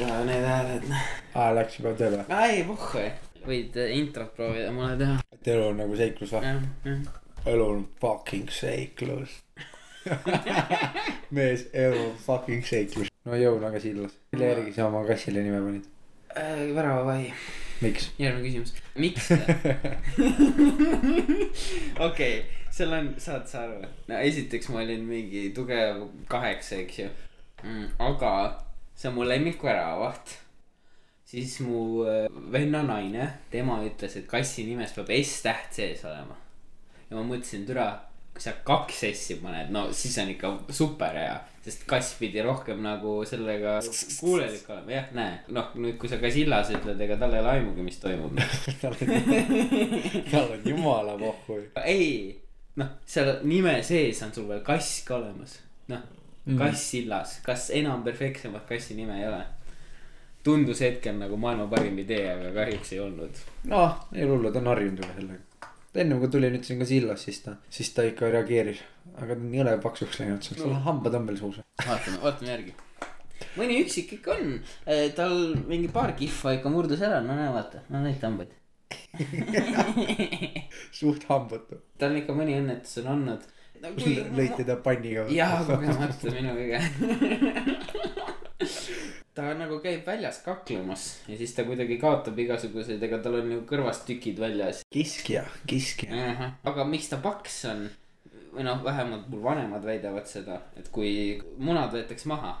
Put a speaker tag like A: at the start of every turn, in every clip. A: ja need hääled .
B: aa , läks juba tööle või ?
A: ei , pohhu ei . võid eh, introt proovida mulle teha .
B: et elu on nagu seiklus või ?
A: jah , jah .
B: elu on fucking seiklus . mees , elu on fucking seiklus . no jõul on ka sillas . mille järgi sa oma kassile nime panid ?
A: väravavai ,
B: miks ?
A: Äh, järgmine küsimus . miks ? okei , seal on , saad sa aru , no esiteks ma olin mingi tugev kaheksa , eks ju mm, . aga see on mu lemmik väravaht . siis mu eh, venna naine , tema ütles , et kassi nimes peab S-täht sees olema . ja ma mõtlesin , türa , kui sa kaks S-i paned , no siis on ikka super hea , sest kass pidi rohkem nagu sellega kuulelik olema , jah , näe , noh , nüüd kui sa Kasillas ütled , ega tal ei ole aimugi , mis toimub .
B: tal on , tal on jumala pohhu ju .
A: ei , noh , seal nime sees on sul veel kass ka olemas , noh , Kasillas , kas enam perfektsemat kassi nime ei ole ? tundus hetkel nagu maailma parim idee , aga kahjuks ei olnud .
B: noh , ei hullu , ta on harjunud juba sellega . ta ennem kui tuli nüüd siin ka sillas , siis ta , siis ta ikka reageeris . aga ta on nii jõle paksuks läinud , sul on hambad on veel suus .
A: vaatame , vaatame järgi . mõni üksik ikka on , tal mingi paar kihva ikka murdus ära , no näe vaata , no neid tambaid .
B: suht hambatu .
A: tal ikka mõni õnnetus on olnud no,
B: lõid teda panniga .
A: jah , kogemata minu viga ta nagu käib väljas kaklemas ja siis ta kuidagi kaotab igasuguseid , ega tal on ju kõrvast tükid väljas
B: kiskja , kiskja .
A: aga miks ta paks on või noh , vähemalt mul vanemad väidavad seda , et kui munad võetakse maha ,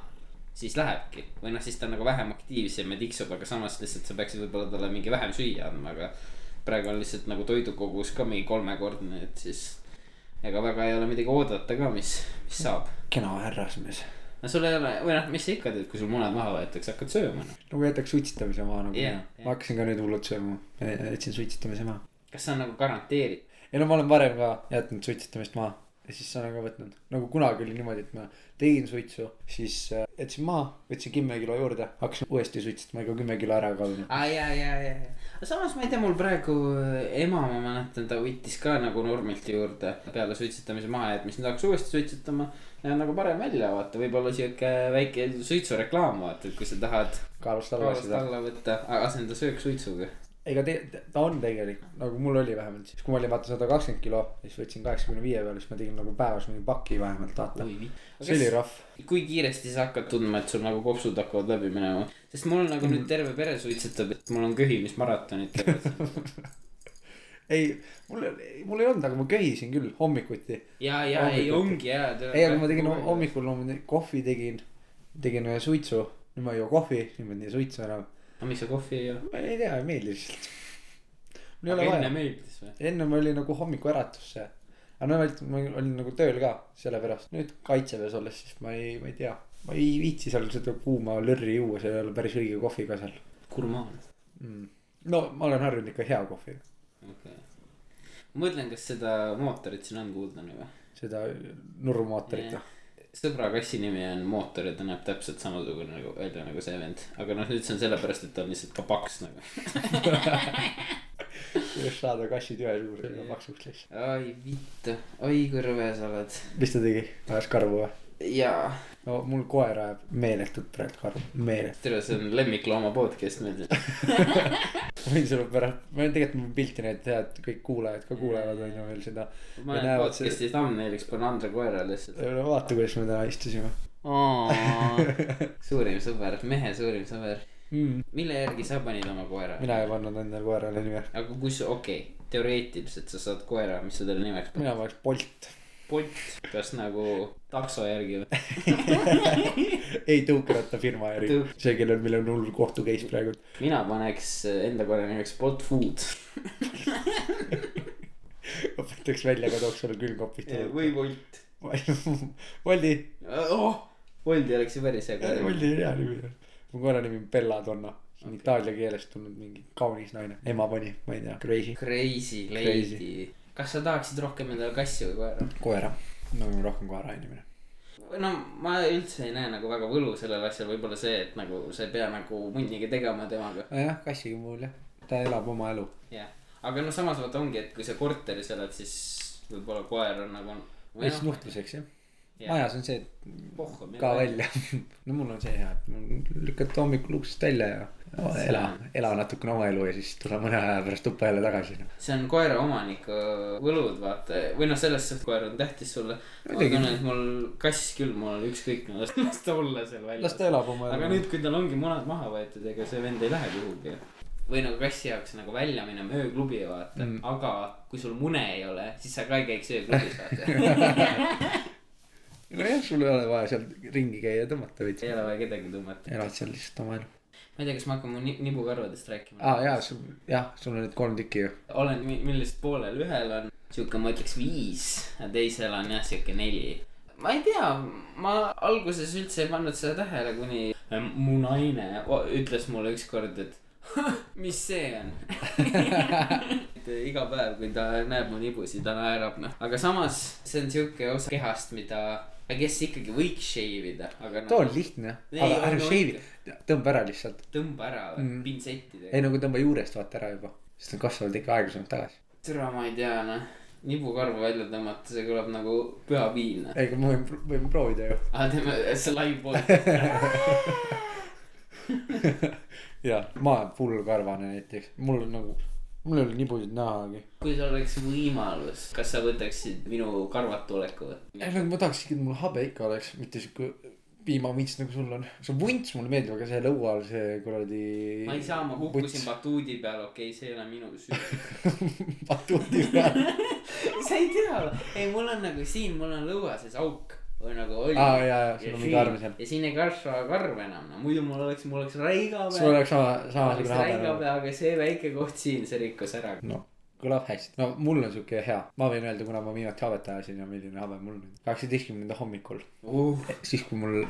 A: siis lähebki või noh , siis ta on nagu vähem aktiivsem ja tiksub , aga samas lihtsalt sa peaksid võib-olla talle mingi vähem süüa andma , aga praegu on lihtsalt nagu toidukogus ka mingi kolmekordne , et siis ega väga ei ole midagi oodata ka , mis , mis saab .
B: kena härrasmees .
A: no sul ei ole või noh , mis sa ikka teed , kui sul munad maha võetakse , hakkad sööma noh .
B: nagu jätaks suitsetamise maha nagu
A: Jah,
B: yeah, .
A: jah.
B: Yeah. ma hakkasin ka nüüd hullult sööma , jätsin suitsetamise maha .
A: kas see on nagu garanteeritud ?
B: ei no ma olen varem ka jätnud suitsetamist maha ja siis olen ka võtnud . nagu kunagi oli niimoodi , et ma tegin suitsu , siis äh, jätsin maha , võtsin kümme kilo juurde , hakkasin uuesti suitsetama , ega kümme kilo ära ei kadunud .
A: aa ja , ja , ja , ja , samas ma ei tea , mul praegu äh, ema , ma mäletan , ta võttis ka nagu normilt juurde peale suitsetamise mahajätmist , nüüd hakkas uuesti suitsetama . näeb nagu parem välja , vaata , võib-olla sihuke väike suitsureklaam , vaata , et kui sa tahad
B: kaalust alla
A: kaalust
B: asjad .
A: alla võtta , asenda söök suitsuga .
B: ega te- , ta on tegelikult , nagu mul oli vähemalt , siis kui ma olin vaata sada kakskümmend kilo , siis võtsin kaheksakümne viie peale , siis ma tegin nagu päevas mingi paki vähemalt , vaata . see oli rough .
A: kui kiiresti sa hakkad tundma , et sul nagu kopsud hakkavad läbi minema , sest mul nagu nüüd terve pere suitsetab , et mul on köhimismaratonid käivad .
B: ei , mul , mul ei olnud , aga ma köhisin küll hommikuti .
A: ja , ja , ei ongi ja .
B: ei , aga ma tegin hom- . hommikul loomulikult kohvi tegin , tegin ühe suitsu , nüüd ma ei joo kohvi , nüüd ma ei tee suitsu enam .
A: aga miks sa Ah, kohvi ei joo ?
B: ma ei tea , ei meeldi lihtsalt . mul ei
A: aga
B: ole
A: enne
B: vaja ,
A: meeldis või ?
B: ennem oli nagu hommikuäratus see . aga no vaid ma olin nagu tööl ka , sellepärast nüüd kaitseväes olles , siis ma ei , ma ei tea , ma ei viitsi seal seda kuuma lörri juua , seal ei ole päris õige kohvi ka seal
A: gurmaan .
B: mm. . no ma olen harjunud ikka hea kohviga ,
A: okei okay. . ma mõtlen , kas seda mootorit siin on kuulda nüüd või ?
B: seda noh. nurumootorit
A: Jah. . sõbra kassi nimi on mootor ja ta näeb täpselt samasugune nagu välja nagu see vend , aga noh , nüüd see on sellepärast , et ta on lihtsalt ka paks nagu .
B: kuidas saada kassid ühesugused ja paksuks lihtsalt .
A: ai vittu , oi kui rõve sa oled .
B: mis ta tegi , ajas karvu või ?
A: jaa ,
B: no mul koer ajab meeletut praegu karvu , meeletut .
A: tere , see on lemmiklooma podcast meil siin .
B: ma võin sulle pärast , ma võin tegelikult mu pilti näidata , et kõik kuulajad ka kuulevad onju veel seda .
A: ma olen
B: näevad seda-
A: podcast'i thumbnailiks , panen Andre koera lihtsalt .
B: vaata , kuidas me täna istusime
A: suurim sõber , mehe suurim sõber .
B: mm. .
A: mille järgi sa panid oma koera ?
B: mina ei pannud endale koerale nime ,
A: aga kus , okei okay, , teoreetiliselt sa saad koera , mis sa talle nimeks paned ?
B: mina paneks Bolt .
A: Bolt , kas nagu takso järgi või ?
B: ei tõukerattafirma äri
A: Tõuk- ,
B: see , kellel , millel on hull kohtu case praegu .
A: mina paneks enda korra nimeks Bolt Food .
B: õpetaks välja ka , tooks sulle külmkopid .
A: või Bolt .
B: Boldi ,
A: oh , Bolti oleks ju päris hea kord .
B: Boldi on hea nimi . mu koera nimi on Bella Donna , see on itaalia keelest tulnud mingi kaunis naine , ema pani , ma ei tea , crazy .
A: Crazy lady . kas sa tahaksid rohkem endale kassi või koera ?
B: koera , no rohkem koera inimene .
A: no ma üldse ei näe nagu väga võlu sellel asjal , võib-olla see , et nagu sa ei pea nagu munnigi tegema temaga .
B: nojah , kassiga mul jah , ta elab oma elu .
A: jah , aga noh , samas vaata ongi , et kui sa korteris elad , siis võib-olla koer on nagu .
B: või siis nuhtluseks jah . majas on see , et
A: Pohhu, meil
B: ka
A: on-
B: välja . no mul on see hea , et mul lükkad hommikul uksest välja ja
A: See-
B: ela , ela natukene oma elu ja siis tule mõne aja pärast tuppa jälle tagasi . noh.
A: see on koera omaniku võlud , vaata , või noh , selles suhtes koer on tähtis sulle . ma
B: Muidugi.
A: tunnen , et mul kass küll , mul on ükskõik , no las las ta olla seal
B: las
A: väljas .
B: ta elab oma
A: aga
B: elu
A: nüüd , kui tal ongi munad maha võetud , ega see vend ei lähe kuhugi . või nagu kassi jaoks nagu välja minema ööklubi , vaata
B: Mm.
A: mm. , aga kui sul mune ei ole , siis sa ka ei käiks ööklubis , vaata .
B: nojah , sul ei ole vaja seal ringi käia ja tõmmata veits
A: ei . ole vaja kedagi tõmmata .
B: elad seal lihtsalt oma elu .
A: ma ei tea , kas me hakkame ni- nibukarvadest rääkima
B: aa jaa , sul , jah , sul on need kolm tükki ju .
A: olen , millest poolel ühel on sihuke , ma ütleks viis ja teisel on jah sihuke neli . ma ei tea , ma alguses üldse ei pannud seda tähele , kuni ähm, mu naine o- ütles mulle ükskord , et mis see on . et iga päev , kui ta näeb mu nibusid , ta naerab noh , aga samas see on sihuke osa kehast , mida , kes ikkagi võiks shave ida , aga noh,
B: too on lihtne ,
A: Ei,
B: aga
A: on
B: ära
A: ikka.
B: shave'i , tõmba ära lihtsalt .
A: tõmba ära
B: Mm.
A: mm. pintsettidega .
B: ei no kui tõmba juurest vaata ära juba , sest nad kasvavad ikka aeglasemalt tagasi .
A: türa , ma ei tea noh , nibukarva välja tõmmata , see kõlab nagu pühapiin .
B: ei , aga ma võin , võin proovida ju .
A: aa , teeme , Ah, see live podcast .
B: jaa , ma olen full karvane näiteks , mul on nagu , mul ei ole nibusid nahagi .
A: kui sul oleks võimalus , kas sa võtaksid minu karvad tuleku või
B: ei ? no ma tahaks ikka , et mul habe ikka oleks , mitte siuke piimavunts nagu sul on . see vunts mulle meeldib , aga see lõua all see kuradi .
A: ma ei saa , ma kukkusin . batuudi peal , okei okay, , see ei ole minu süü .
B: batuudi peal .
A: sa ei tea või ? ei , mul on nagu siin , mul on lõua sees auk või nagu oli .
B: Aa, jaa, jaa, sul on mingi arv seal.
A: ja siin ei kasva karv enam , no muidu mul oleks , mul oleks raiga
B: sul
A: pea .
B: oleks sama ,
A: oleks
B: samasugune habe
A: raiga
B: nagu .
A: pea , aga see väike koht siin , see rikkus ära .
B: noh , kõlab hästi . no mul on siuke hea , ma võin öelda , kuna ma viimati habet ajasin ja milline habe mul nüüd . kaheksateistkümnenda hommikul ,
A: uh ,
B: siis kui mul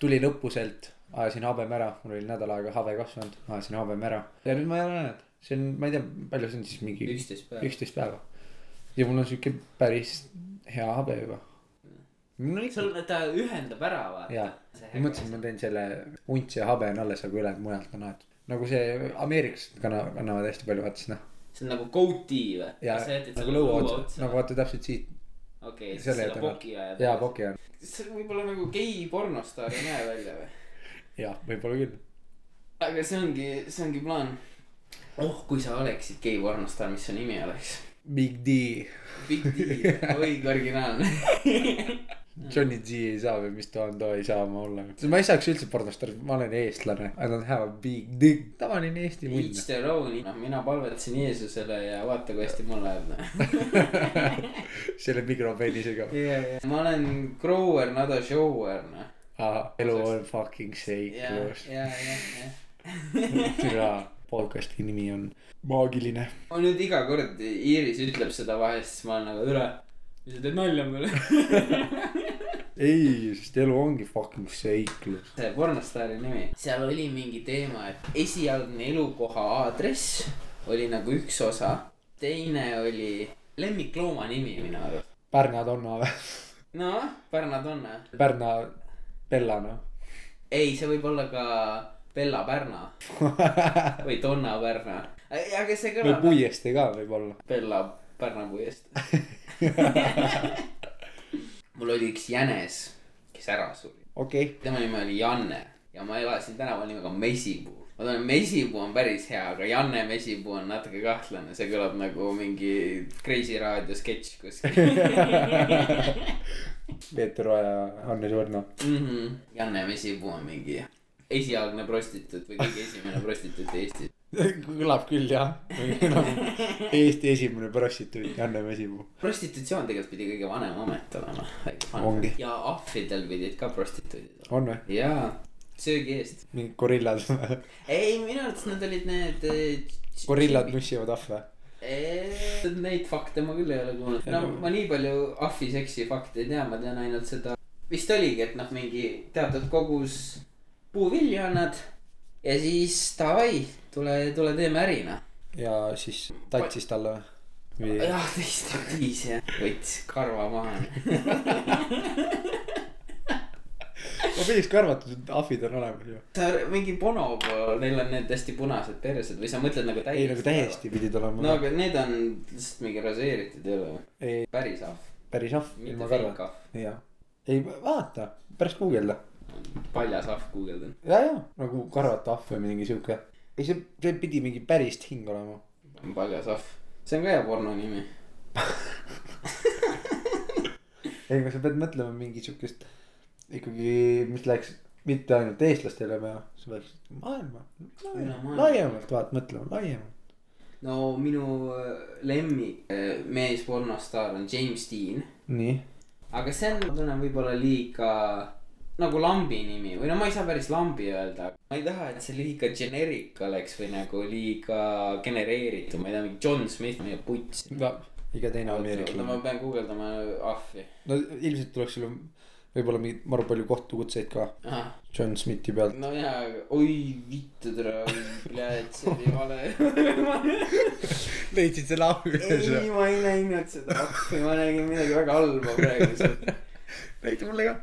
B: tulin õppuselt , ajasin habeme ära , mul oli nädal aega habe kasvanud , ajasin habeme ära ja nüüd ma ei ole näinud . see on , ma ei tea , palju see on siis mingi
A: üksteist päeva .
B: üksteist päeva . ja mul on siuke päris hea habe juba . mul on ikka ,
A: sul , ta ühendab ära vaata
B: jaa ., ma mõtlesin , ma teen selle untsi ja habe on alles , aga ülejäänud mujalt on aetud . nagu see ameeriklased kanna- , kannavad hästi palju , vaata siis noh .
A: see on nagu goatee või ?
B: ja nagu lõua otsa , nagu vaata täpselt siit ,
A: okei , siis
B: selle
A: seda poki
B: juurde
A: ajad .
B: jaa , poki on ,
A: see on võib-olla nagu gei pornostaar ei näe välja või ?
B: jaa , võib-olla küll .
A: aga see ongi , see ongi plaan . oh , kui sa oleksid gei pornostaar , mis su nimi oleks ?
B: Big D ,
A: Big D , õige originaalne .
B: Johnny G ei saa või mis ta on , too ei saa ma olla . ma ei saaks üldse pornostar , ma olen eestlane , I don't have a big dick , tavaline Eesti
A: Each
B: munn .
A: their own , noh mina palvetasin Jeesusele ja vaata , kui hästi mul läheb . noh.
B: selle mikropeenisega .
A: ma olen grower , not a shower , noh .
B: elu on Ah, fucking
A: ja ,
B: seiklus .
A: ja , ja , ja .
B: türa , podcast'i nimi on maagiline .
A: ma nüüd iga kord , Iiris ütleb seda vahest , siis ma olen nagu üle . mis sa teed nalja mulle ?
B: ei , sest elu ongi fucking seiklus .
A: see pornostaari nimi , seal oli mingi teema , et esialgne elukoha aadress oli nagu üks osa , teine oli lemmiklooma nimi minu arust .
B: Pärna Donna või ?
A: noh , Pärna-Donna .
B: Pärna Bellana .
A: ei , see võib olla ka Bella Pärna või Donna Pärna . aga see
B: või
A: kõlab
B: puiestee ka võib-olla .
A: Bella Pärna puiest mul oli üks jänes , kes ära suri .
B: okei okay. ,
A: tema nimi oli Janne ja ma elasin tänaval nimega Mesipuu . ma tean , Mesipuu on päris hea , aga Janne Mesipuu on natuke kahtlane , see kõlab nagu mingi Kreisi raadio sketš kuskil
B: Peeter Oja , Hannes Võrno .
A: mm . -hmm. Janne Mesipuu on mingi esialgne prostituut või kõige esimene prostituut Eestis .
B: kõlab küll jah , Eesti esimene prostituut Janne Vesipuu .
A: prostitutsioon tegelikult pidi kõige vanem amet olema .
B: Ongi.
A: ja ahvidel pidid ka prostituudid olema .
B: on või ?
A: jaa , söögi eest .
B: mingid gorillad või ?
A: ei , minu arvates nad olid need eh,
B: gorillad nussivad ahve .
A: Eh, Neid fakte ma küll ei ole kuulnud , no ma nii palju ahvi seksi fakte ei tea , ma tean ainult seda , vist oligi , et noh , mingi teatud kogus puuvilju annad ja siis davai , tule , tule teeme äri noh .
B: ja siis tatsis talle või ? või ?
A: jah , teist on viis ja võts karva maha . noh.
B: ma pidingi arvata , et ahvid on olemas ju .
A: sa mingi bonobo , neil on need hästi punased persed või sa mõtled nagu täiesti ?
B: ei , nagu täiesti pidid olema
A: no
B: no, .
A: aga need on lihtsalt mingi raseeritud ei ole või ?
B: ei ,
A: päris ahv ,
B: päris ahv ,
A: mitte
B: ilma
A: fake
B: karvata .
A: ahv .
B: jah . ei vaata , pärast guugelda .
A: paljas ahv guugeldan .
B: ja , ja nagu karvata ahv või mingi siuke . ei , see , see pidi mingi päris hing olema .
A: paljas ahv , see on ka hea porno nimi .
B: ei , aga sa pead mõtlema mingi siukest ikkagi , mis läheks mitte ainult eestlastele peale , sa peaks maailma, maailma ,
A: maailma.
B: laiemalt vaat mõtlema , laiemalt .
A: no minu äh, lemmik äh, meespornostaar on James Dean ,
B: nii ,
A: aga see on , ma tunnen võib-olla liiga nagu lambi nimi või no ma ei saa päris lambi öelda , ma ei taha , et see liiga generic oleks või nagu liiga genereeritud , ma ei tea , mingi John Smith , ma ei tea , puts .
B: no iga teine
A: oota , ma
B: ameeriklane .
A: pean guugeldama ahvi .
B: no ilmselt tuleks sulle võib-olla mingi maru palju kohtukutseid ka John Smithi pealt .
A: no jaa , oi vittu tere , pljääd , see oli vale .
B: leidsid selle ahvi
A: ei , ma ei näinud seda ahvi , ma nägin midagi väga halba praegu sealt .
B: näita mulle ka .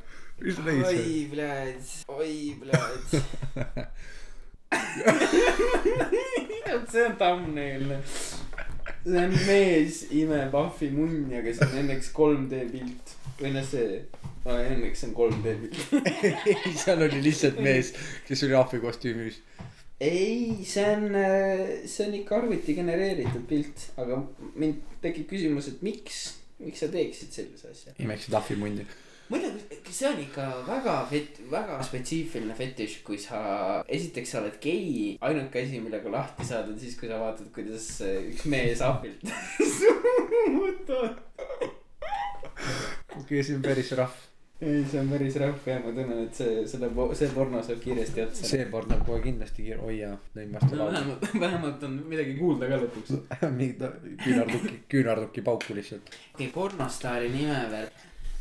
B: mis sa
A: oi pljääd , oi pljääd . vot see on thumbnail . see on mees imeb ahvi munni , aga see on õnneks 3D pilt või noh , see , õnneks see on 3D pilt .
B: ei , seal oli lihtsalt mees , kes oli ahvi kostüümis .
A: ei , see on , see on ikka arvuti genereeritud pilt , aga mind tekib küsimus , et miks , miks sa teeksid sellise asja ?
B: imeksid ahvi mundi .
A: muide , kas see on ikka väga fet- , väga spetsiifiline fetiš , kui sa , esiteks sa oled gei , ainuke asi , millega lahti saad , on siis , kui sa vaatad , kuidas äh, üks mees ahvilt suutab .
B: okei okay, , see on päris rahv .
A: ei , see on päris rahv ja ma tunnen , et see , selle , see porno saab kiiresti otsa .
B: see porno kohe kindlasti kiir- , oi jaa , lõin vastu
A: no
B: lauda .
A: vähemalt , vähemalt on midagi kuulda ka lõpuks .
B: mingi ta- küünarduki , küünarduki pauku lihtsalt .
A: okei , pornostaari nime veel .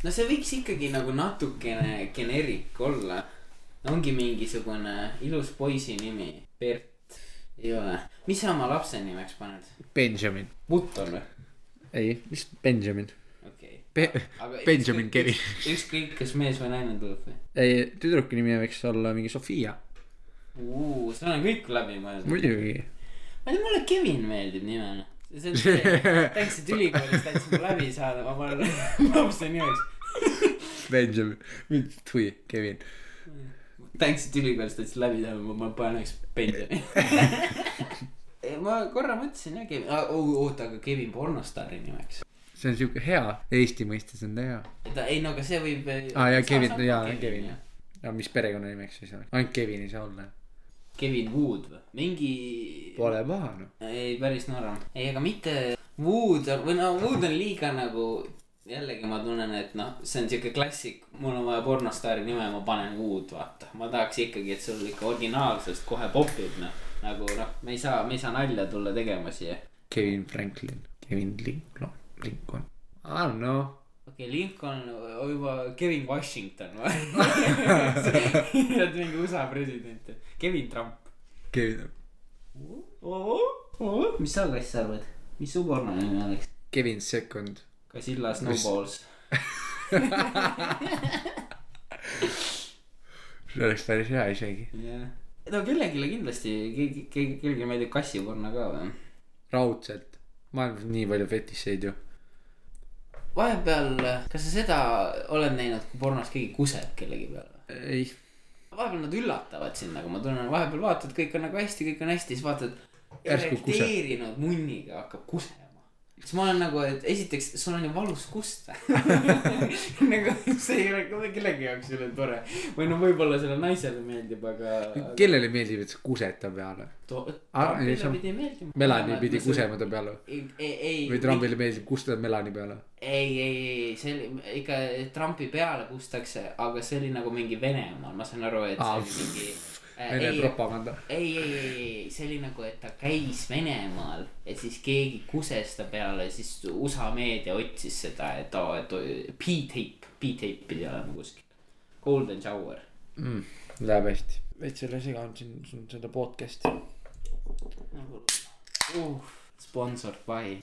A: no see võiks ikkagi nagu natukene generik olla . ongi mingisugune ilus poisi nimi , Bert , ei ole . mis sa oma lapse nimeks paned ?
B: Benjamin .
A: Button või ?
B: ei , lihtsalt Benjamin
A: okei
B: Be .
A: Aga
B: Benjamin
A: ükskõik-
B: Kevin.
A: üks- ükskõik , kas mees või naine tuleb või ?
B: ei , tüdruku nimi võiks olla mingi Sofia .
A: sul on kõik läbi mõeldud .
B: muidugi .
A: ma ei tea , mulle Kevin meeldib nimena . see on see , täitsa ülikoolis tahtsin läbi saada , ma panen lapse nimeks
B: Benjamin , või Kevin .
A: tänks , et ülikoolist tahtsid läbi teha , ma , ma panen üks pensioni . ma korra mõtlesin jah , Kevin , oota , aga Kevin pornostaari nimeks .
B: see on siuke hea , Eesti mõistes on ta hea .
A: ta , ei no aga see võib . eh,
B: Aa, jaa, Kevin- jaa, Kevin, jah. aga mis perekonnanimeks siis on ? ainult Kevin ei saa olla .
A: Kevin Wood või , mingi .
B: Pole paha noh .
A: ei , päris norm , ei , aga mitte Wood on- või no Wood on liiga nagu jällegi ma tunnen , et noh , see on siuke klassik , mul on vaja pornostaari nime , ma panen Wood , vaata . ma tahaks ikkagi , et sul ikka originaalsust kohe popib , noh . nagu noh , me ei saa , me ei saa nalja tulla tegema siia .
B: Kevin Franklin , Kevin Lincoln , Lincoln . I don't know .
A: okei okay, , Lincoln , juba Kevin Washington või ? tead mingi USA president , Kevin Trump .
B: Kevin ,
A: mis sa , Kass , arvad , mis su porno nimi oleks ?
B: Kevin Second .
A: Kasilla Snowballs .
B: see oleks päris hea isegi .
A: jah , no kellelegi kindlasti , keegi , keegi , kellelegi meeldib kassiporno ka või ?
B: raudselt , maailmas on nii palju fetišeid ju .
A: vahepeal , kas sa seda oled näinud , kui pornos keegi kuseb kellegi peale ?
B: ei ,
A: vahepeal nad üllatavad sind , nagu ma tunnen , vahepeal vaatad , kõik on nagu hästi , kõik on hästi , siis vaatad .
B: Järsku kuseb.
A: erekteerinud munniga hakkab kusema . siis ma olen nagu , et esiteks sul on ju valus kusta . nagu see ei ole ka kellegi jaoks ei ole tore või no võib-olla selle naisele meeldib , aga .
B: kellele meeldib , et sa kused ta peale ? Ah, ei, see
A: Trumpile
B: on-
A: pidi meeldima .
B: Melanie pidi kusema ta peale
A: ei , ei ,
B: või
A: ei ,
B: Trumpile meeldib kustuda Melanie peale .
A: ei , ei , see oli ikka Trumpi peale kustakse , aga see oli nagu mingi Venemaal , ma saan aru , et see
B: Aa,
A: oli mingi .
B: Vene
A: ei ,
B: Ah, propaganda .
A: ei , ei , ei , ei , see oli nagu , et ta käis Venemaal ja siis keegi kuses ta peale , siis USA meedia otsis seda , et oo , et oo- P-tape , P-tape pidi olema kuskil . Golden shower .
B: mm, . Läheb hästi . veits selle segan siin , siin seda podcast'i .
A: nagu uh, , sponsored by .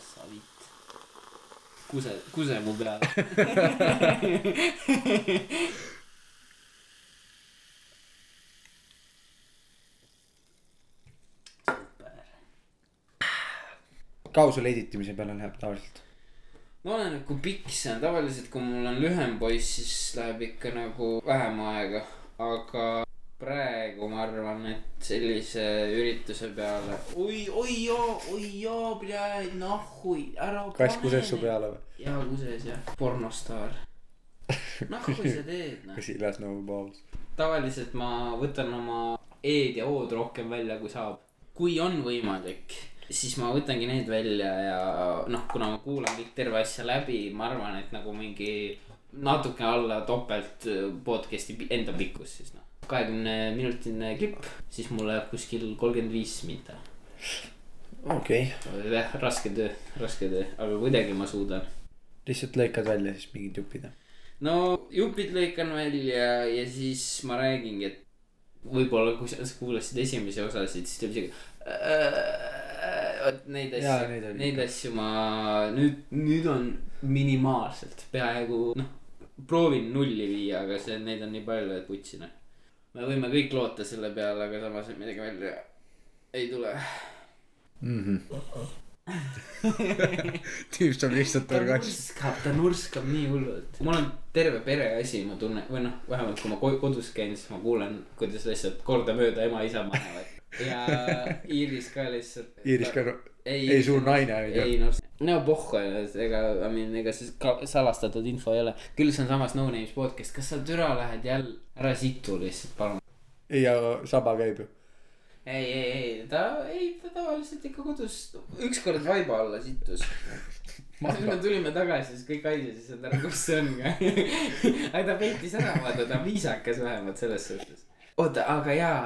A: savit . kuse , kuse mu peale . super .
B: kaua sul editimise peale läheb tavaliselt ?
A: no oleneb kui nagu pikk see on tavaliselt kui mul on lühem poiss siis läheb ikka nagu vähem aega aga praegu ma arvan et sellise ürituse peale oi oi joo oi joo pljääd nahui ära
B: kass kuses su peale või ?
A: jaa kuses jah pornostaar nahku sa teed noh
B: kas ilas nagu paus ?
A: tavaliselt ma võtan oma E-d ja O-d rohkem välja , kui saab . kui on võimalik , siis ma võtangi need välja ja noh , kuna ma kuulan kõik terve asja läbi , ma arvan , et nagu mingi natuke alla topelt äh, podcast'i pi- enda pikkus siis noh . kahekümne minutine klipp , siis mul läheb kuskil kolmkümmend viis minta .
B: okei okay. .
A: jah , raske töö , raske töö , aga kuidagi ma suudan .
B: lihtsalt lõikad välja siis mingid jupid jah ?
A: no jupid lõikan välja ja siis ma räägingi , et võib-olla kui sa sa kuulasid esimesi osasid , siis tuli siuke . vot neid
B: Jaa, neid
A: asju ,
B: oli
A: neid
B: ikka.
A: asju ma nüüd , nüüd on minimaalselt peaaegu noh , proovin nulli viia , aga see , neid on nii palju , et vutsi noh . me võime kõik loota selle peale , aga samas midagi välja ei tule .
B: Mhm. tüüp saab lihtsalt
A: ta
B: targaks .
A: nurskab , ta nurskab nii hullult . mul on terve pereasi , ma tunnen , või noh , vähemalt kui ma ko- kodus käin , siis ma kuulen , kuidas lihtsalt kordamööda ema-isa manevad . ja Iiris ka lihtsalt .
B: Iiris ka , ei suur naine on ju .
A: ei noh , no pohhu , ega , I mean , ega see ka- salastatud info ei ole . küll see on samas No Names podcast , kas sa türa lähed jälle , ära situ lihtsalt , palun .
B: ei , aga saba käib ju .
A: ei , ei , ei , ta , ei , ta tavaliselt ikka kodus , ükskord vaiba alla sittus . siis me tulime tagasi , siis kõik haisesid , siis saad ära , kus see on ka . aga ta peitis ära , vaata , ta on viisakas vähemalt selles suhtes . oota , aga jaa ,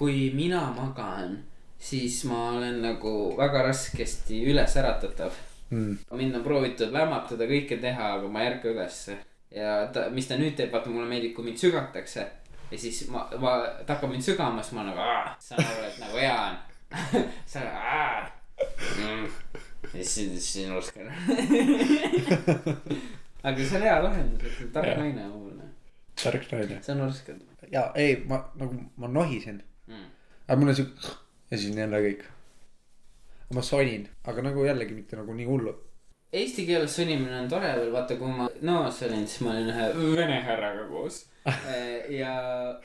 A: kui mina magan , siis ma olen nagu väga raskesti üles äratatav .
B: mm. .
A: mind on proovitud lämmatada , kõike teha , aga ma ei ärka ülesse . ja ta , mis ta nüüd teeb , vaata mulle meeldib , kui mind sügatakse . ja siis ma , ma , ta hakkab mind sügama , siis ma nagu aa , saan aru , et nagu hea on . sa aa mm. . ja siis , siis nurskad . aga see on hea lahendus , et see on tark
B: Jah.
A: naine on noh. mul .
B: tark naine .
A: sa nurskad
B: jaa , ei , ma nagu , ma nohisen .
A: mm. .
B: aga mul on siuke ja siis on jälle kõik . ma sonin , aga nagu jällegi mitte nagu nii hullu .
A: Eesti keeles sõnimine on tore veel , vaata kui ma noas olin , siis ma olin ühe vene härraga koos . ja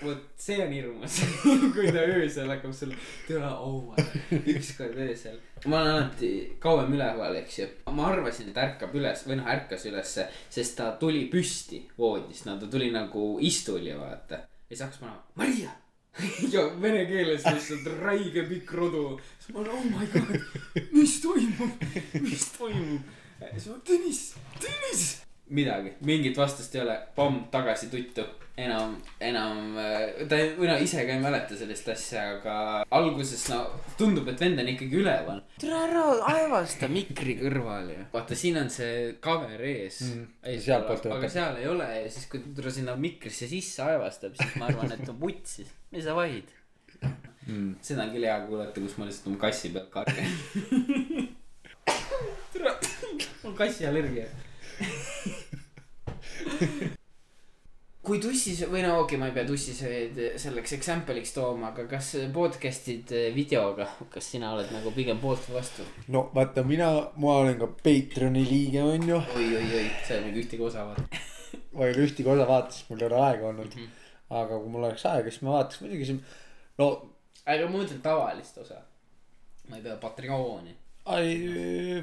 A: vot see on hirmus , kui ta öösel hakkab sulle , türa , oh my , ükskord öösel . ma olen alati kauem üleval , eks ju . ma arvasin , et ärkab üles või noh , ärkas ülesse , sest ta tuli püsti voodist , no ta tuli nagu istuli , vaata . ja siis hakkas panema , Maria ja vene keeles lihtsalt räige pikk rodu . siis ma olen , oh my god , mis toimub , mis toimub .
B: Eh,
A: siis ma , Tõnis , Tõnis . midagi , mingit vastust ei ole , pomm tagasi tuttu . enam , enam , ta ei , või no ise ka ei mäleta sellist asja , aga alguses no tundub , et vend on ikkagi üleval . tere ära aevasta mikri kõrval ja . vaata , siin on see cover ees
B: Mm,
A: Ei,
B: sealtpoolt
A: aga
B: võtab.
A: seal ei ole ja siis , kui ta tule- sinna mikrisse sisse aevastab , siis ma arvan , et on vutsis . mis sa vahid
B: Mm. ?
A: seda on küll hea kuulata , kus ma lihtsalt oma kassi pealt kargan . tere , mul kassiallergia . kui tussis või no okei okay, , ma ei pea tussisööjaid selleks example'iks tooma , aga kas podcast'id videoga , kas sina oled nagu pigem poolt või vastu oi, ?
B: no vaata , mina , ma olen ka Patreoni liige , onju .
A: oi-oi-oi , sa ei ole mingi nagu ühtegi osa vaadanud .
B: ma ei ole ühtegi osa vaatamas , mul ei ole aega olnud mm . -hmm. aga kui mul oleks aega , siis ma vaataks muidugi siin . no ,
A: aga ma mõtlen tavalist osa . ma ei pea Patreoni .
B: ei ,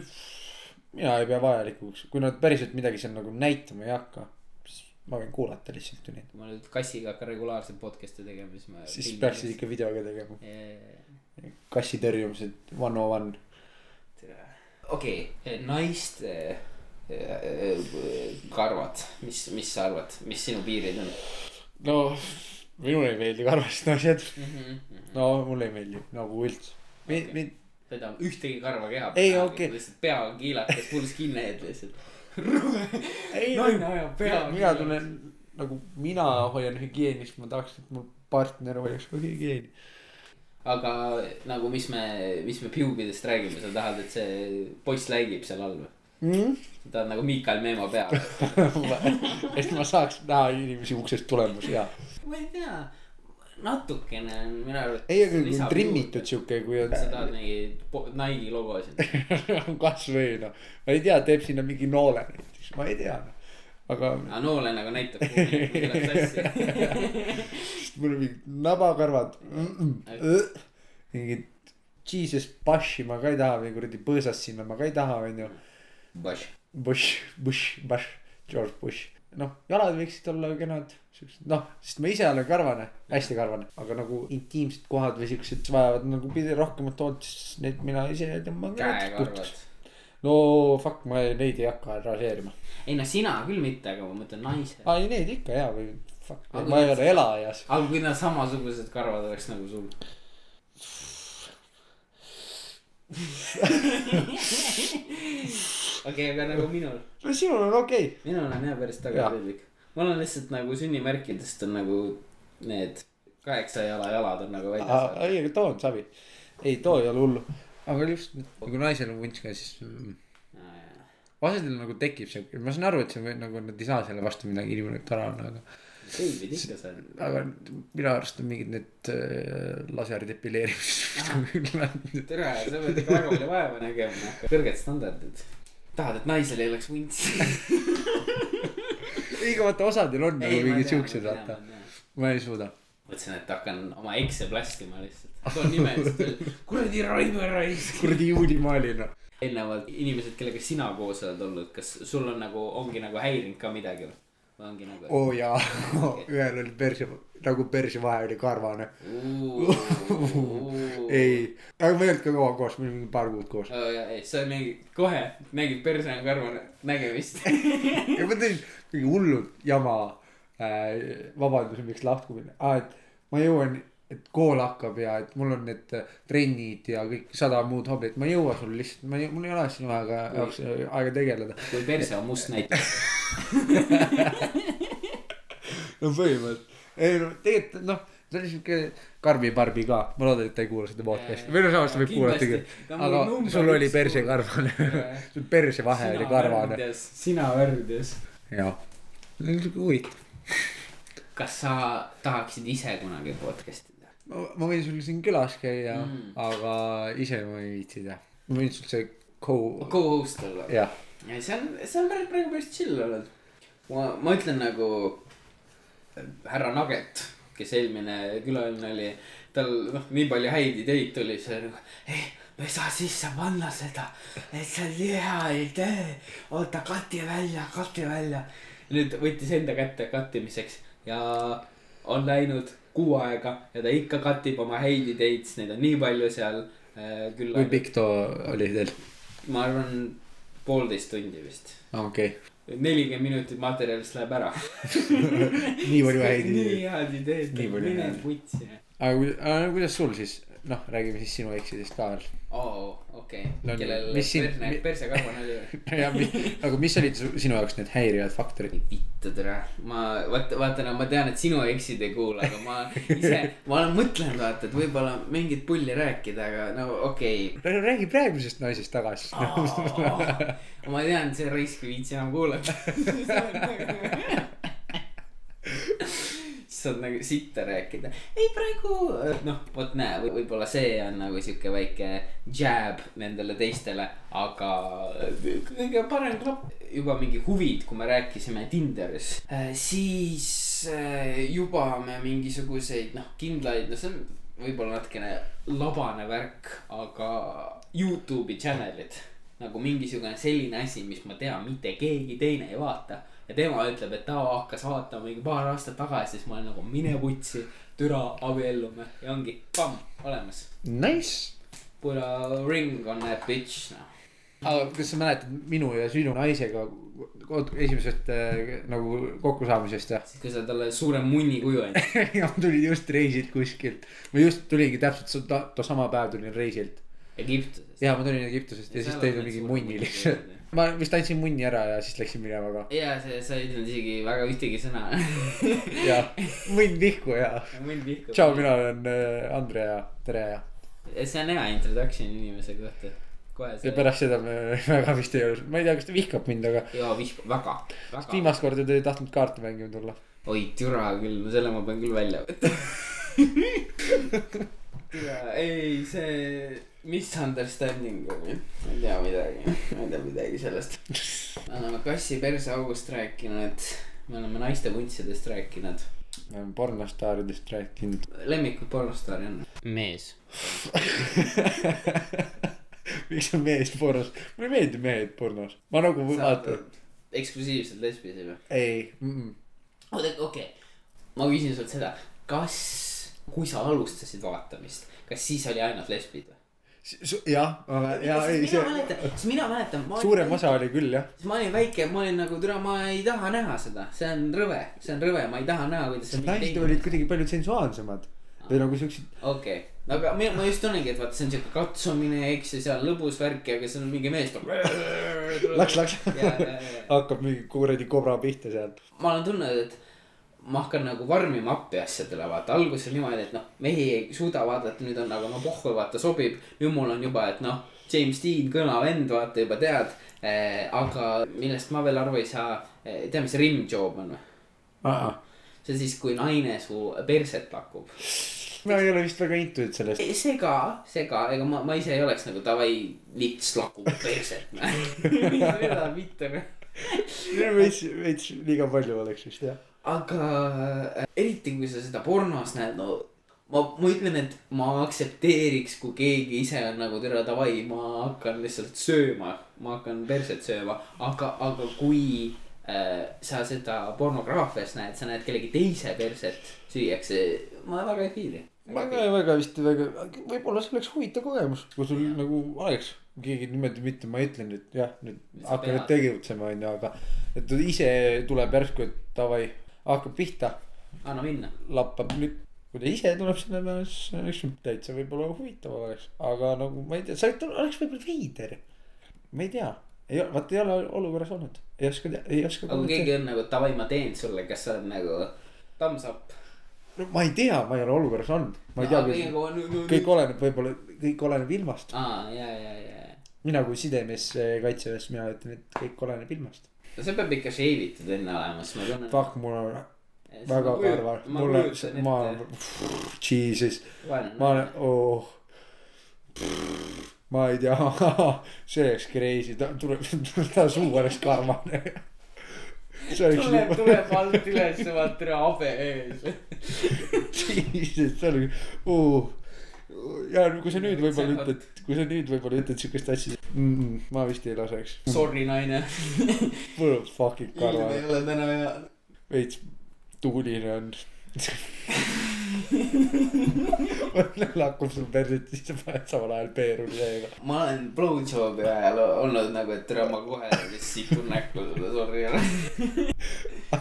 B: mina ei pea vajalikuks , kui nad päriselt midagi seal nagu näitama ei hakka , siis ma võin kuulata lihtsalt ju neid .
A: kui ma nüüd kassiga hakkan regulaarselt podcast'e tegema , siis ma .
B: siis peaksid . ikka videoga tegema .
A: tere .
B: kassi tõrjumised one on one .
A: okei okay, , naiste eh, karvad , mis , mis sa arvad , mis sinu piirid on
B: no minule ei meeldi karvased asjad .
A: mm ? -hmm.
B: no mulle ei meeldi nagu üldse . mind , mind ,
A: seda ühtegi karva keha .
B: Ei, okei.
A: lihtsalt pea on kiilakas , full skinhead lihtsalt .
B: Ei,
A: naine ajab pea .
B: mina, mina . tunnen nagu mina hoian hügieenist , ma tahaks , et mul partner hoiaks ka hügieeni .
A: aga nagu , mis me , mis me puubidest räägime , sa tahad , et see poiss läigib seal all või ?
B: Mm?
A: sa tahad nagu Miikal Meemo peal ?
B: et ma saaks näha inimesi uksest tulemas ja
A: ma ei tea , natukene on minu arvates .
B: ei , aga kui on trimmitud . siuke , kui on
A: sa tahad mingi po- Nike'i logosid .
B: kasvõi noh , ma ei tea , teeb sinna mingi noole näiteks , ma ei tea . aga
A: aga Nolan nagu näitab , kuhu läheb sassi .
B: siis mul on mingid nabakarvad mm . -mm. mingid Jesus Bashi ma ka ei taha või kuradi põõsast sinna ma ka ei taha , onju .
A: Bosh .
B: Bush , Bush , Bush , George Bush . noh , jalad võiksid olla kenad , siuksed , noh , sest ma ise olen karvane , hästi karvane , aga nagu intiimsed kohad või siuksed vajavad nagu pidi rohkemat hoolt , siis need mina ise tõmban ka natuke
A: käekarvad
B: puhtaks .. no fuck , ma ei- neid ei hakka raseerima .
A: ei no sina küll mitte , aga ma mõtlen naise .
B: aa ei , neid ikka jaa või fuck ,
A: Aga
B: ma ei
A: need-
B: ole elajas .
A: aga kui nad samasugused karvad oleks nagu sul . okei , aga nagu minul ,
B: no sinul on okei okay. .
A: minul on jah päris
B: Jaa.
A: tagasihoidlik . mul on lihtsalt nagu sünnimärkidest on nagu need kaheksa jala jalad on nagu
B: Ah,
A: väljas .
B: ei , aga too on savi . ei , too ei ole hullu . aga just , kui naisel on vunts ka , siis mm, vasedel nagu tekib see , ma saan aru , et see või- nagu nad ei saa selle vastu midagi , inimene tore on , aga ,
A: David ikka seal .
B: aga minu arust on mingid need äh, nagu laserdepileerimised .
A: tere , sa pead ikka väga palju vaeva nägema , kõrged standardid . tahad , et naisel ei oleks
B: Nagu
A: vuntsi ?
B: ei , aga vaata , osadel on nagu mingid siuksed , vaata .. ma ei suuda .
A: mõtlesin , et hakkan oma ekse plastima lihtsalt , toon nimesid , kuradi Raivo Raisk .
B: kuradi juulimaalina .
A: eelnevalt inimesed , kellega sina koos oled olnud , kas sul on nagu , ongi nagu häirinud ka midagi või ? või ongi nagu
B: oo Oh, jaa , ühel oli perse , nagu perse vahe oli karvane .
A: oh. ?
B: ei , aga me ei olnud ka kaua koos , me olime mingi paar kuud koos .
A: oo jaa , Oh, ei sa nägid kohe , nägid perse on karvane nägemist .
B: ja ma teen mingi hullult jama äh, vabanduse , miks lahkumine ah, , et ma jõuan , et kool hakkab ja et mul on need äh, trennid ja kõik sada muud hobid , ma ei jõua sul lihtsalt , ma ei , mul ei ole sinu aega , jaoks äh, aega tegeleda .
A: kui perse on must näiteks .
B: no põhimõtteliselt , ei no tegelikult noh , see oli siuke Karmi Barbi ka , ma loodan , et ta ei kuula seda podcast'i , või no samas ta võib kuulata küll , aga sul oli perse . karvane
A: Jaa, , jah.
B: sul perse vahe oli karvane ,
A: sina värvides .
B: jah . see on siuke huvitav .
A: kas sa tahaksid ise kunagi podcast'i teha ?
B: ma ma võin sul siin külas käia
A: Mm.
B: mm. , aga ise ma ei viitsi teha . ma võin sul see co- ,
A: co-host olla .
B: jah ,
A: ei , see on , see on praegu , praegu päris chill olnud . ma , ma ütlen nagu äh, härra Nugget , kes eelmine külaline oli , tal noh , nii palju häid ideid tuli , see nagu , ei , me ei saa sisse panna seda , et see on nii hea idee , oota , kati välja , kati välja . nüüd võttis enda kätte kattimiseks ja on läinud kuu aega ja ta ikka katib oma häid ideid , sest neid on nii palju seal äh, küll
B: kui . pikk too oli teil ?
A: ma arvan , poolteist tundi vist
B: okei okay. ,
A: nelikümmend minutit materjalist läheb ära .
B: nii palju häid
A: nii
B: ideid .
A: head ideed ,
B: Nii palju
A: mine
B: häid.
A: putsi .
B: aga kui- aga nagu kuidas sul siis , noh , räägime siis sinu eksidest ka veel .
A: oo , okei ,
B: No
A: kellel
B: nii, mis siin-
A: perne
B: mi- ,
A: persekarvane oli .
B: aga mis olid su- sinu jaoks need häirivad faktorid ?
A: vittu tere , ma vaata , vaata , no ma tean , et sinu eksid ei kuula , aga ma ise , ma olen mõtlenud vaata , et võib-olla mingit pulli rääkida , aga no okei okay. .
B: no räägi praegusest naisest tagasi
A: ma tean , see raisk ei viitsi enam kuulata . siis saad nagu sitta rääkida , ei praegu noh , vot näe , võib-olla see on nagu siuke väike jab nendele teistele , aga kõige parem klapp juba mingi huvid , kui me rääkisime Tinderis , siis äh, juba me mingisuguseid noh , kindlaid , no see on võib-olla natukene labane värk , aga Youtube'i channel'id nagu mingisugune selline asi , mis ma tean , mitte keegi teine ei vaata . ja tema ütleb , et ta hakkas vaatama mingi paar aastat tagasi , siis ma olen nagu mine vutsi , türa abiellume ja ongi pamm olemas .
B: Nice .
A: Pura ring on that bitch noh .
B: aga kas sa mäletad minu ja sinu naisega kod- esimesest äh, nagu kokkusaamisest või ?
A: siis kui sa talle suure munni kuju andsid .
B: ja ma tulin just reisilt kuskilt , ma just tuligi täpselt seda , too sama päev tulin reisilt
A: Egiptuses .
B: ja ma tulin Egiptusest ja, ja siis teil on mingi munni lihtsalt . ma vist andsin munni ära ja siis läksin minema ka .
A: ja see , sa ei ütelnud isegi väga ühtegi sõna .
B: jah , munn vihku ja .
A: munn vihkab .
B: tšau , mina olen äh, Andre ja tere ja .
A: see on hea introduction inimese kohta . kohe
B: ja
A: see .
B: pärast seda me väga vist ei olnud , ma ei tea , kas ta vihkab mind , aga
A: jaa , vihkab väga , väga .
B: viimast korda ta ei tahtnud kaarte mängima tulla .
A: oi türa küll , no selle ma pean küll välja võtma . ei , see misunderstanding oli , ma ei tea midagi , ma ei tea midagi sellest . me oleme kassi perseaugust rääkinud , me oleme naiste vuntsidest rääkinud .
B: me oleme pornostaaridest rääkinud .
A: lemmikud pornostaari on ? mees .
B: miks on mees pornos , mulle ei meeldi mehed pornos , ma nagu vaatan ,
A: eksklusiivselt lesbilisi või ?
B: ei mm . -mm.
A: oota , okei okay. , ma küsin sult seda , kas , kui sa alustasid vaatamist , kas siis oli ainult lesbid või ?
B: S- su- jah , ja ei
A: mina
B: see ,
A: mäletan , sest mina mäletan .
B: suurem osa oli küll jah ,
A: siis ma olin väike , ma olin nagu türa , ma ei taha näha seda , see on rõve , see on rõve , ma ei taha näha , kuidas see .
B: naised olid . kuidagi palju sensuaalsemad või nagu siuksed ,
A: okei , no aga mina , ma just tunnengi , et vaata , see on siuke katsumine , eks ju , seal lõbus värk ja , aga seal on mingi mees tuleb .
B: laks , laks
A: ja , ja , ja ,
B: hakkab mingi kuradi kobra pihta sealt .
A: ma olen tundnud , et ma hakkan nagu varmima appi asjadele , vaata , alguses oli niimoodi , et noh , mehi ei suuda vaadata , nüüd on nagu no pohhu , vaata , sobib . nüüd mul on juba , et noh , James Dean , kõva vend , vaata juba tead eh, . aga millest ma veel aru ei saa eh, , tea , mis rim job on või ? see on siis , kui naine su perset pakub .
B: ma ei ole vist väga intuit sellest .
A: sega , sega , ega ma , ma ise ei oleks nagu davai , lits lakub perset . seda mitte .
B: veits , veits liiga palju oleks vist jah .
A: aga äh, eriti , kui sa seda pornos näed , no ma , ma ütlen , et ma aktsepteeriks , kui keegi ise on nagu tere davai , ma hakkan lihtsalt sööma , ma hakkan perset sööma , aga , aga kui äh, sa seda pornograafias näed , sa näed kellegi teise perset süüakse , ma väga ei piiri .
B: ma ka väga vist väga , võib-olla see oleks huvitav kogemus , kui sul nagu oleks keegi niimoodi mitte , ma ei ütle nüüd jah , nüüd
A: Mis sa
B: hakka nüüd
A: pead?
B: tegutsema onju , aga et ta ise tuleb järsku , et davai , hakkab pihta ,
A: anna minna .
B: lappab nüüd kui ta ise tuleb sinna peale , siis see oleks täitsa võib-olla huvitav oleks , aga nagu ma ei tea , sa oled- oleks võib-olla veider . ma ei tea , ei , vaat ei ole olukorras olnud , ei oska , ei oska
A: aga kui . keegi on nagu davai , ma teen sulle , kas sa oled nagu thumbs up ? nagu,
B: no ma ei tea , ma ei ole olukorras olnud , ma ei tea , kõik . oleneb võib-olla , kõik oleneb ilmast .
A: aa , ja , ja , ja , ja .
B: mina kui sidemees eh, kaitseväes , mina ütlen , et kõik oleneb ilmast .
A: no see peab ikka shavitud enne olema , siis ma tunnen . nagu
B: Fuck , mul on väga karva , mul on , ma olen , jesus , ma olen , oh . ma ei tea , see oleks crazy , ta tuleb , ta suu oleks karvane . see oleks
A: tuleb ,
B: juba ,
A: tuleb alt üles , vaata üle habe ees .
B: jesus , see oli , oh . ja kui sa nüüd võib-olla ütled , kui sa nüüd võib-olla ütled siukest asja mm , -mm, ma vist ei laseks .
A: Sorry , naine .
B: mul on fucking
A: ilm ei
B: karvane ,
A: ole täna hea .
B: veits tuuline on . mõtle , lakkub sul perset , siis sa paned samal ajal peeruli seega .
A: ma olen blowjob'i ajal olnud nagu , et tere , ma kohe vist situn näkku sulle , sorry .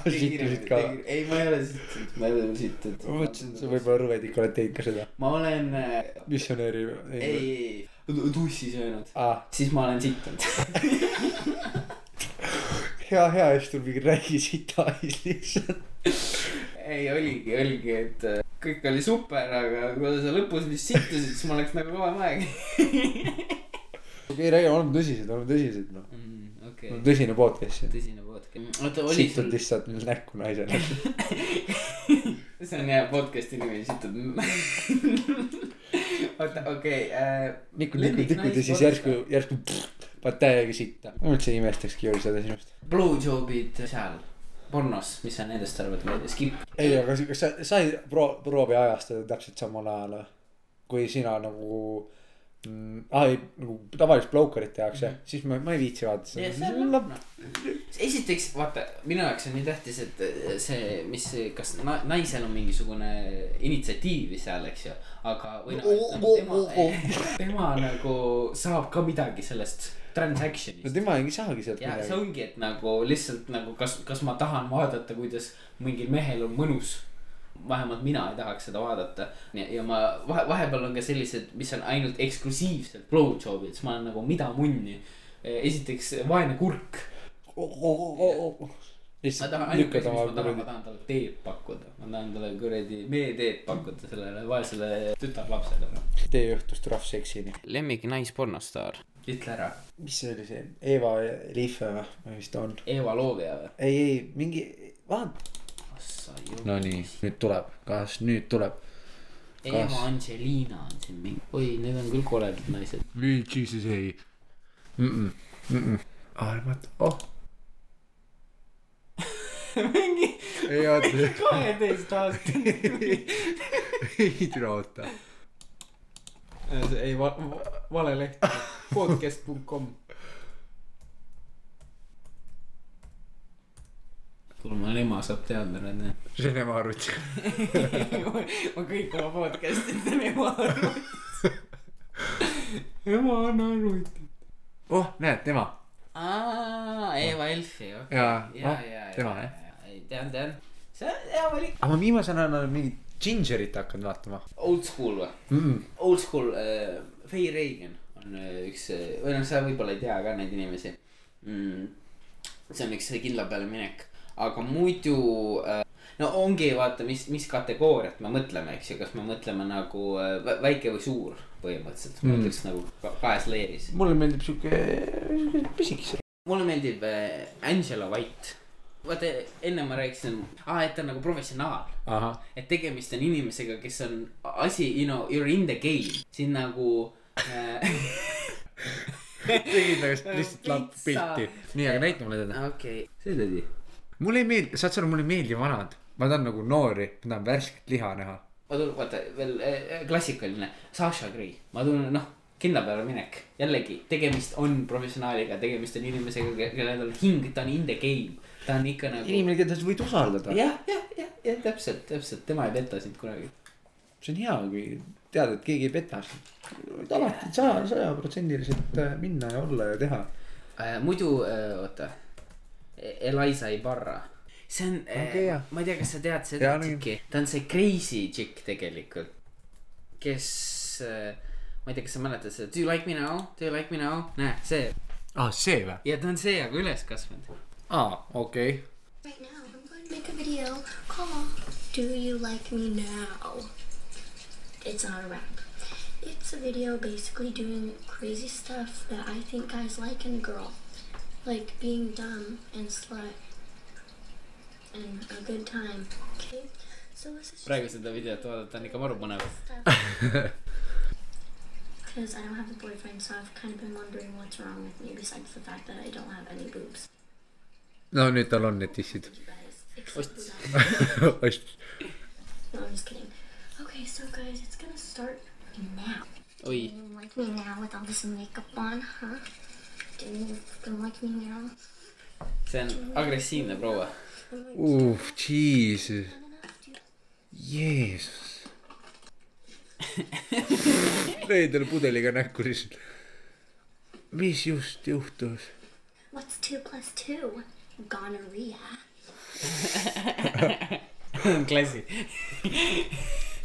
B: sittusid ka .
A: ei , ma ei ole situnud , ma ei ole veel situnud .
B: ma mõtlesin , et sa võib-olla Rõvedik oled teinud ka seda .
A: ma olen , äh, ei ,
B: missionäri .
A: ei , ei , tussi söönud ,
B: aa ,
A: siis ma olen sittunud .
B: hea , hea , siis tuleb mingi räigi sita siis lihtsalt .
A: ei , oligi , oligi , et äh, kõik oli super , aga kui sa lõpus vist sittusid , siis mul läks nagu kõvem aeg .
B: okei , räägi , oleme tõsised , oleme tõsised noh .
A: Mm-hmm, okei
B: on , tõsine podcast ju .
A: Mm, tõsine podcast . oota , oli
B: situd
A: sul ,
B: lihtsalt näkku naisele .
A: see on hea podcast'i nimi , situd . oota , okei . äh,
B: nikud , nikud , nikud ja siis järsku , järsku pff, paned täiega sitta . ma üldse ei imestakski ju seda sinust .
A: Blowjobid seal pornos , mis sa nendest arvad , ma ei tea , skip .
B: ei , aga kas- kas sa , sa ei proo- , proovi ajastada täpselt samal ajal või ? kui sina nagu mm, , aa ei , nagu tavalist blowkerit tehakse
A: Mhm.
B: mm , -hmm. siis ma , ma ei viitsi vaadata seda .
A: esiteks vaata , minu jaoks on nii tähtis , et eh, see , mis , kas na- naisel on mingisugune initsiatiivi seal , eks ju , aga või noh , et
B: Oo, oo,
A: noh ,
B: oo, oo.
A: tema , tema nagu saab ka midagi sellest
B: no
A: transaction'ist .
B: tema ei saagi sealt
A: ja see
B: midagi .
A: ongi , et nagu lihtsalt nagu kas , kas ma tahan vaadata , kuidas mingil mehel on mõnus vähemalt mina ei tahaks seda vaadata ja, ja ma vahe , vahepeal on ka sellised , mis on ainult eksklusiivselt blowjob'id , siis ma olen nagu mida munni . esiteks vaene kurk
B: Oh,
A: ma
B: lihtsalt
A: tahan ainuke
B: lükkad
A: asi , mis ma
B: oma
A: tahan , ma
B: kuradi ,
A: tahan talle teed pakkuda , ma tahan talle kuradi meeteed pakkuda sellele vaesele tütarlapsele .
B: teeõhtust rough seksini .
A: lemmik naispornostaar . ütle ära ,
B: mis see oli see , Eva Liife või , või vist on ?
A: Eva Loovia või ?
B: ei , ei mingi , vaata .
A: ah sa ju .
B: Nonii , nüüd tuleb , kas nüüd tuleb ?
A: ei ,
B: Kas?
A: ema Angelina on siin mingi , oi , need on küll koledad naised .
B: või Jesus ei . armata , oh .
A: mingi
B: ei oota ,
A: kaheteistaastane .
B: ei tule oota .
A: ei , vale leht , podcast.com . kuule , mu ema saab teada nüüd jah .
B: see on ema arvuti .
A: ma kõik oma podcast'id teen ema arvutis . ema on arvutis .
B: oh , näed , tema .
A: aa , Eva Elfi , okei .
B: jaa ,
A: ja ,
B: noh ,
A: ja ,
B: tema
A: ja
B: jah .,
A: ei tean , tean . see on hea valik .
B: aga ma viimasel ajal olen mingit Gingerit hakanud vaatama
A: Old school või ?
B: mm. .
A: old school äh, , Faye Reagan on äh, üks äh, , või noh , sa võib-olla ei tea ka neid inimesi mm, . see on üks kindla peale minek , aga muidu äh, , no ongi vaata , mis , mis kategooriat me mõtleme , eks ju , kas me mõtleme nagu äh, vä- väike või suur põhimõtteliselt , ma
B: Mm.
A: ütleks nagu ka- kahes leeris .
B: mulle meeldib sihuke , sihuke pisikese .
A: mulle meeldib äh, Angela White , vaata enne ma rääkisin ah, , et ta on nagu professionaal
B: ahah ,
A: et tegemist on inimesega , kes on asi , you know , you are in the game , siin nagu äh, .
B: tegid nagu lihtsalt lamp pilti . nii , aga näita mulle teda .
A: Ah, okei okay. . see tõdi .
B: mulle ei meeldi , saad sa aru , mulle ei meeldi vanad . ma tahan nagu noori , ma tahan värsket liha näha .
A: oota , vaata veel äh, klassikaline Sasha Gray , ma tunnen noh , kindla peale minek , jällegi tegemist on professionaaliga , tegemist on inimesega , kellel on hing , ta on in the game , ta on ikka nagu .
B: inimene , keda sa võid usaldada .
A: jah , jah , jah , jah , täpselt , täpselt , tema ei peta sind kunagi .
B: see on hea , kui tead , et keegi ei peta sind . võid alati saja , sajaprotsendiliselt äh, minna ja olla ja teha .
A: äh, . muidu äh, , oota , Eliza Ibarra . see on
B: Okei,
A: okay,
B: jah.
A: äh, , ma ei tea , kas sa tead
B: Jaa,
A: seda
B: nii.
A: tšikki , ta on see crazy tšikk tegelikult , kes äh, , ma ei tea , kas sa mäletad seda Do you like me now , do you like me now , näe see
B: aa , Ah, see või ?
A: ja ta on see aga üles kasvanud .
B: aa , Ah, okei okay. .
C: Right now, I'm going to make a video called Do You Like Me Now? It's not a rap. It's a video basically doing crazy stuff that I think guys like in a girl. Like being dumb and slut. And a good time. Okay? So this is
A: praegu seda videot vaadata on ikka maru põnev .
C: Because I don't have a boyfriend, so I've kind of been wondering what's wrong with me besides the fact that I don't have any boobs.
B: no nüüd tal on need tissid .
C: You guys, except
A: What's-
C: for that. No, I'm just kidding. Okay, so guys, it's gonna start now.
A: oi ,
C: Do you like me now with all this makeup on, huh? Do you fucking like me now?
A: see on agressiivne proua .
B: uh , jesus ,
C: Not enough, do you
B: jeesus . lõi talle pudeliga näkku lihtsalt . mis just juhtus ?
C: What's two plus two? Gonorrhea.
A: klassi .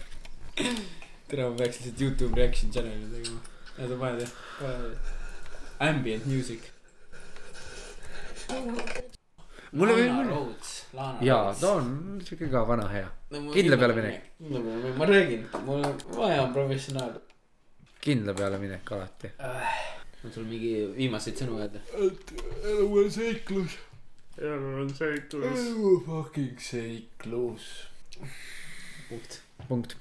A: tere , ma peaks lihtsalt Youtube reaction channel'i tegema . oota , pane tea . Ambient music
C: Oh, no.
B: mulle veel
A: Lana
B: mulle .
A: Rhodes , Lana
B: jaa ,
A: Rhodes
B: ta on siuke ka vana hea .
A: no, mul
B: kindla peale
A: kindla peale minek , ma räägin , mul on vaja on professionaal
B: kindla peale minek alati .
A: on sul mingi viimaseid sõnu öelda ?
B: et elu on seiklus .
A: elu on seiklus
B: elu fucking seiklus .
A: punkt
B: punkt .